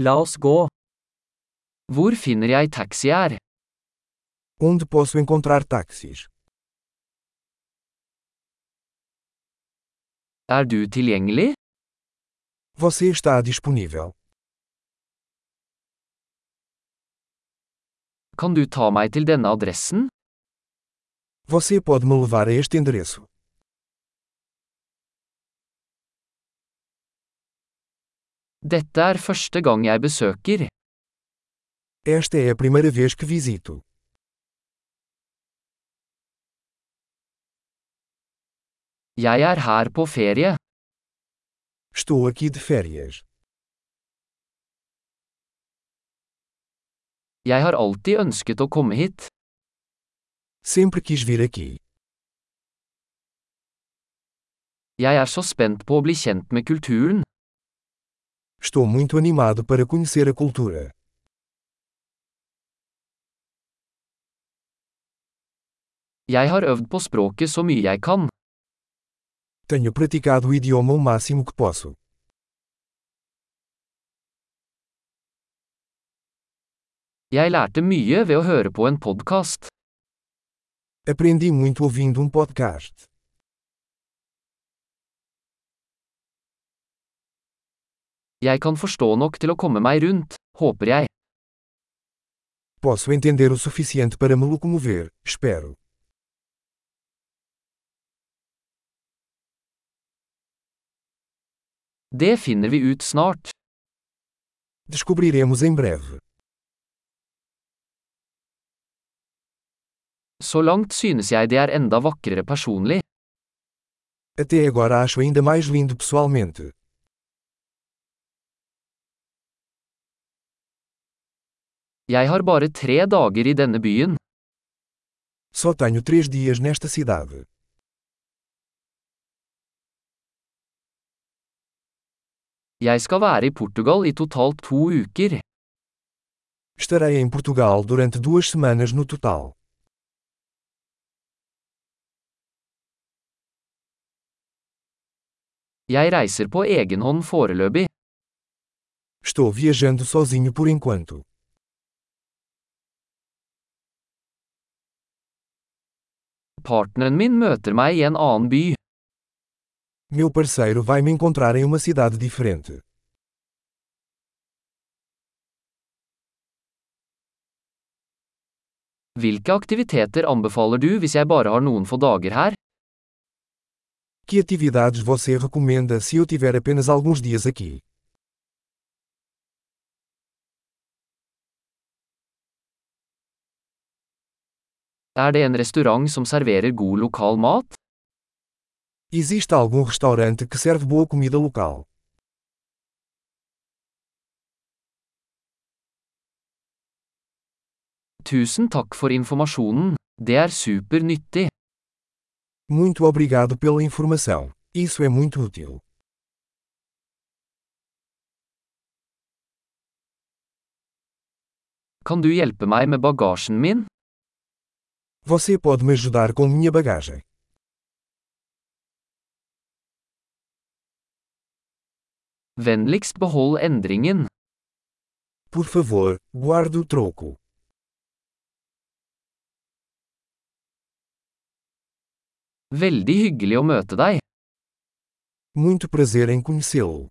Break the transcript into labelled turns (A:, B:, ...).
A: La oss gå. Hvor finner jeg taxi her?
B: Onde posso encontrar táxis?
A: Er du tilgjengelig?
B: Você está disponível.
A: Kan du ta meg til denne adressen?
B: Você pode me levar a este endereço.
A: Dette er første gang jeg besøker.
B: Esta é a primeira vez que visito.
A: Jeg er her på ferie.
B: Estou aqui de férias.
A: Jeg har alltid ønsket å komme hit.
B: Sempre quis vir aqui.
A: Jeg er så spent på å bli kjent med kulturen.
B: Estou muito animado para conhecer a cultura.
A: Jeg har øvd på språket så mye jeg kan.
B: Tenho praticado o idioma o máximo que posso.
A: Jeg lærte mye ved å høre på en podkast.
B: Aprendi muito ouvindo um podcast.
A: Jeg kan forstå nok til å komme meg rundt, håper jeg.
B: Posso entender o suficiente para me locomover, espero.
A: Det finner vi ut snart.
B: Descobriremos em breve.
A: Så langt synes jeg det er enda vakrere personlig.
B: Até agora acho ainda mais lindo pessoalmente.
A: Jeg har bare tre dager i denne byen.
B: Só tenho três dias nesta cidade.
A: Jeg skal være i Portugal i totalt to uker.
B: Estarei em Portugal durante duas semanas no total.
A: Jeg reiser på egen hånd foreløpig.
B: Estou viajando sozinho por enquanto.
A: Partneren min møter meg i en annen by.
B: Meu parceiro vai me encontrar em uma cidade diferente.
A: Hvilke aktiviteter anbefaler du hvis jeg bare har noen få dager her?
B: Que atividades você recomenda se eu tiver apenas alguns dias aqui?
A: Er det en restaurant som serverer god lokal mat?
B: Existe algum restaurante que serve boa comida local?
A: Tusen takk for informasjonen. Det er supernyttig.
B: Muito obrigado pela informação. Isso é muito útil.
A: Kan du hjelpe meg med bagasjen min?
B: Você pode me ajudar com minha bagagem.
A: Vennligst behold endringen.
B: Por favor, guarde o troco.
A: Veldig hyggelig å møte deg.
B: Muito prazer em conhecê-lo.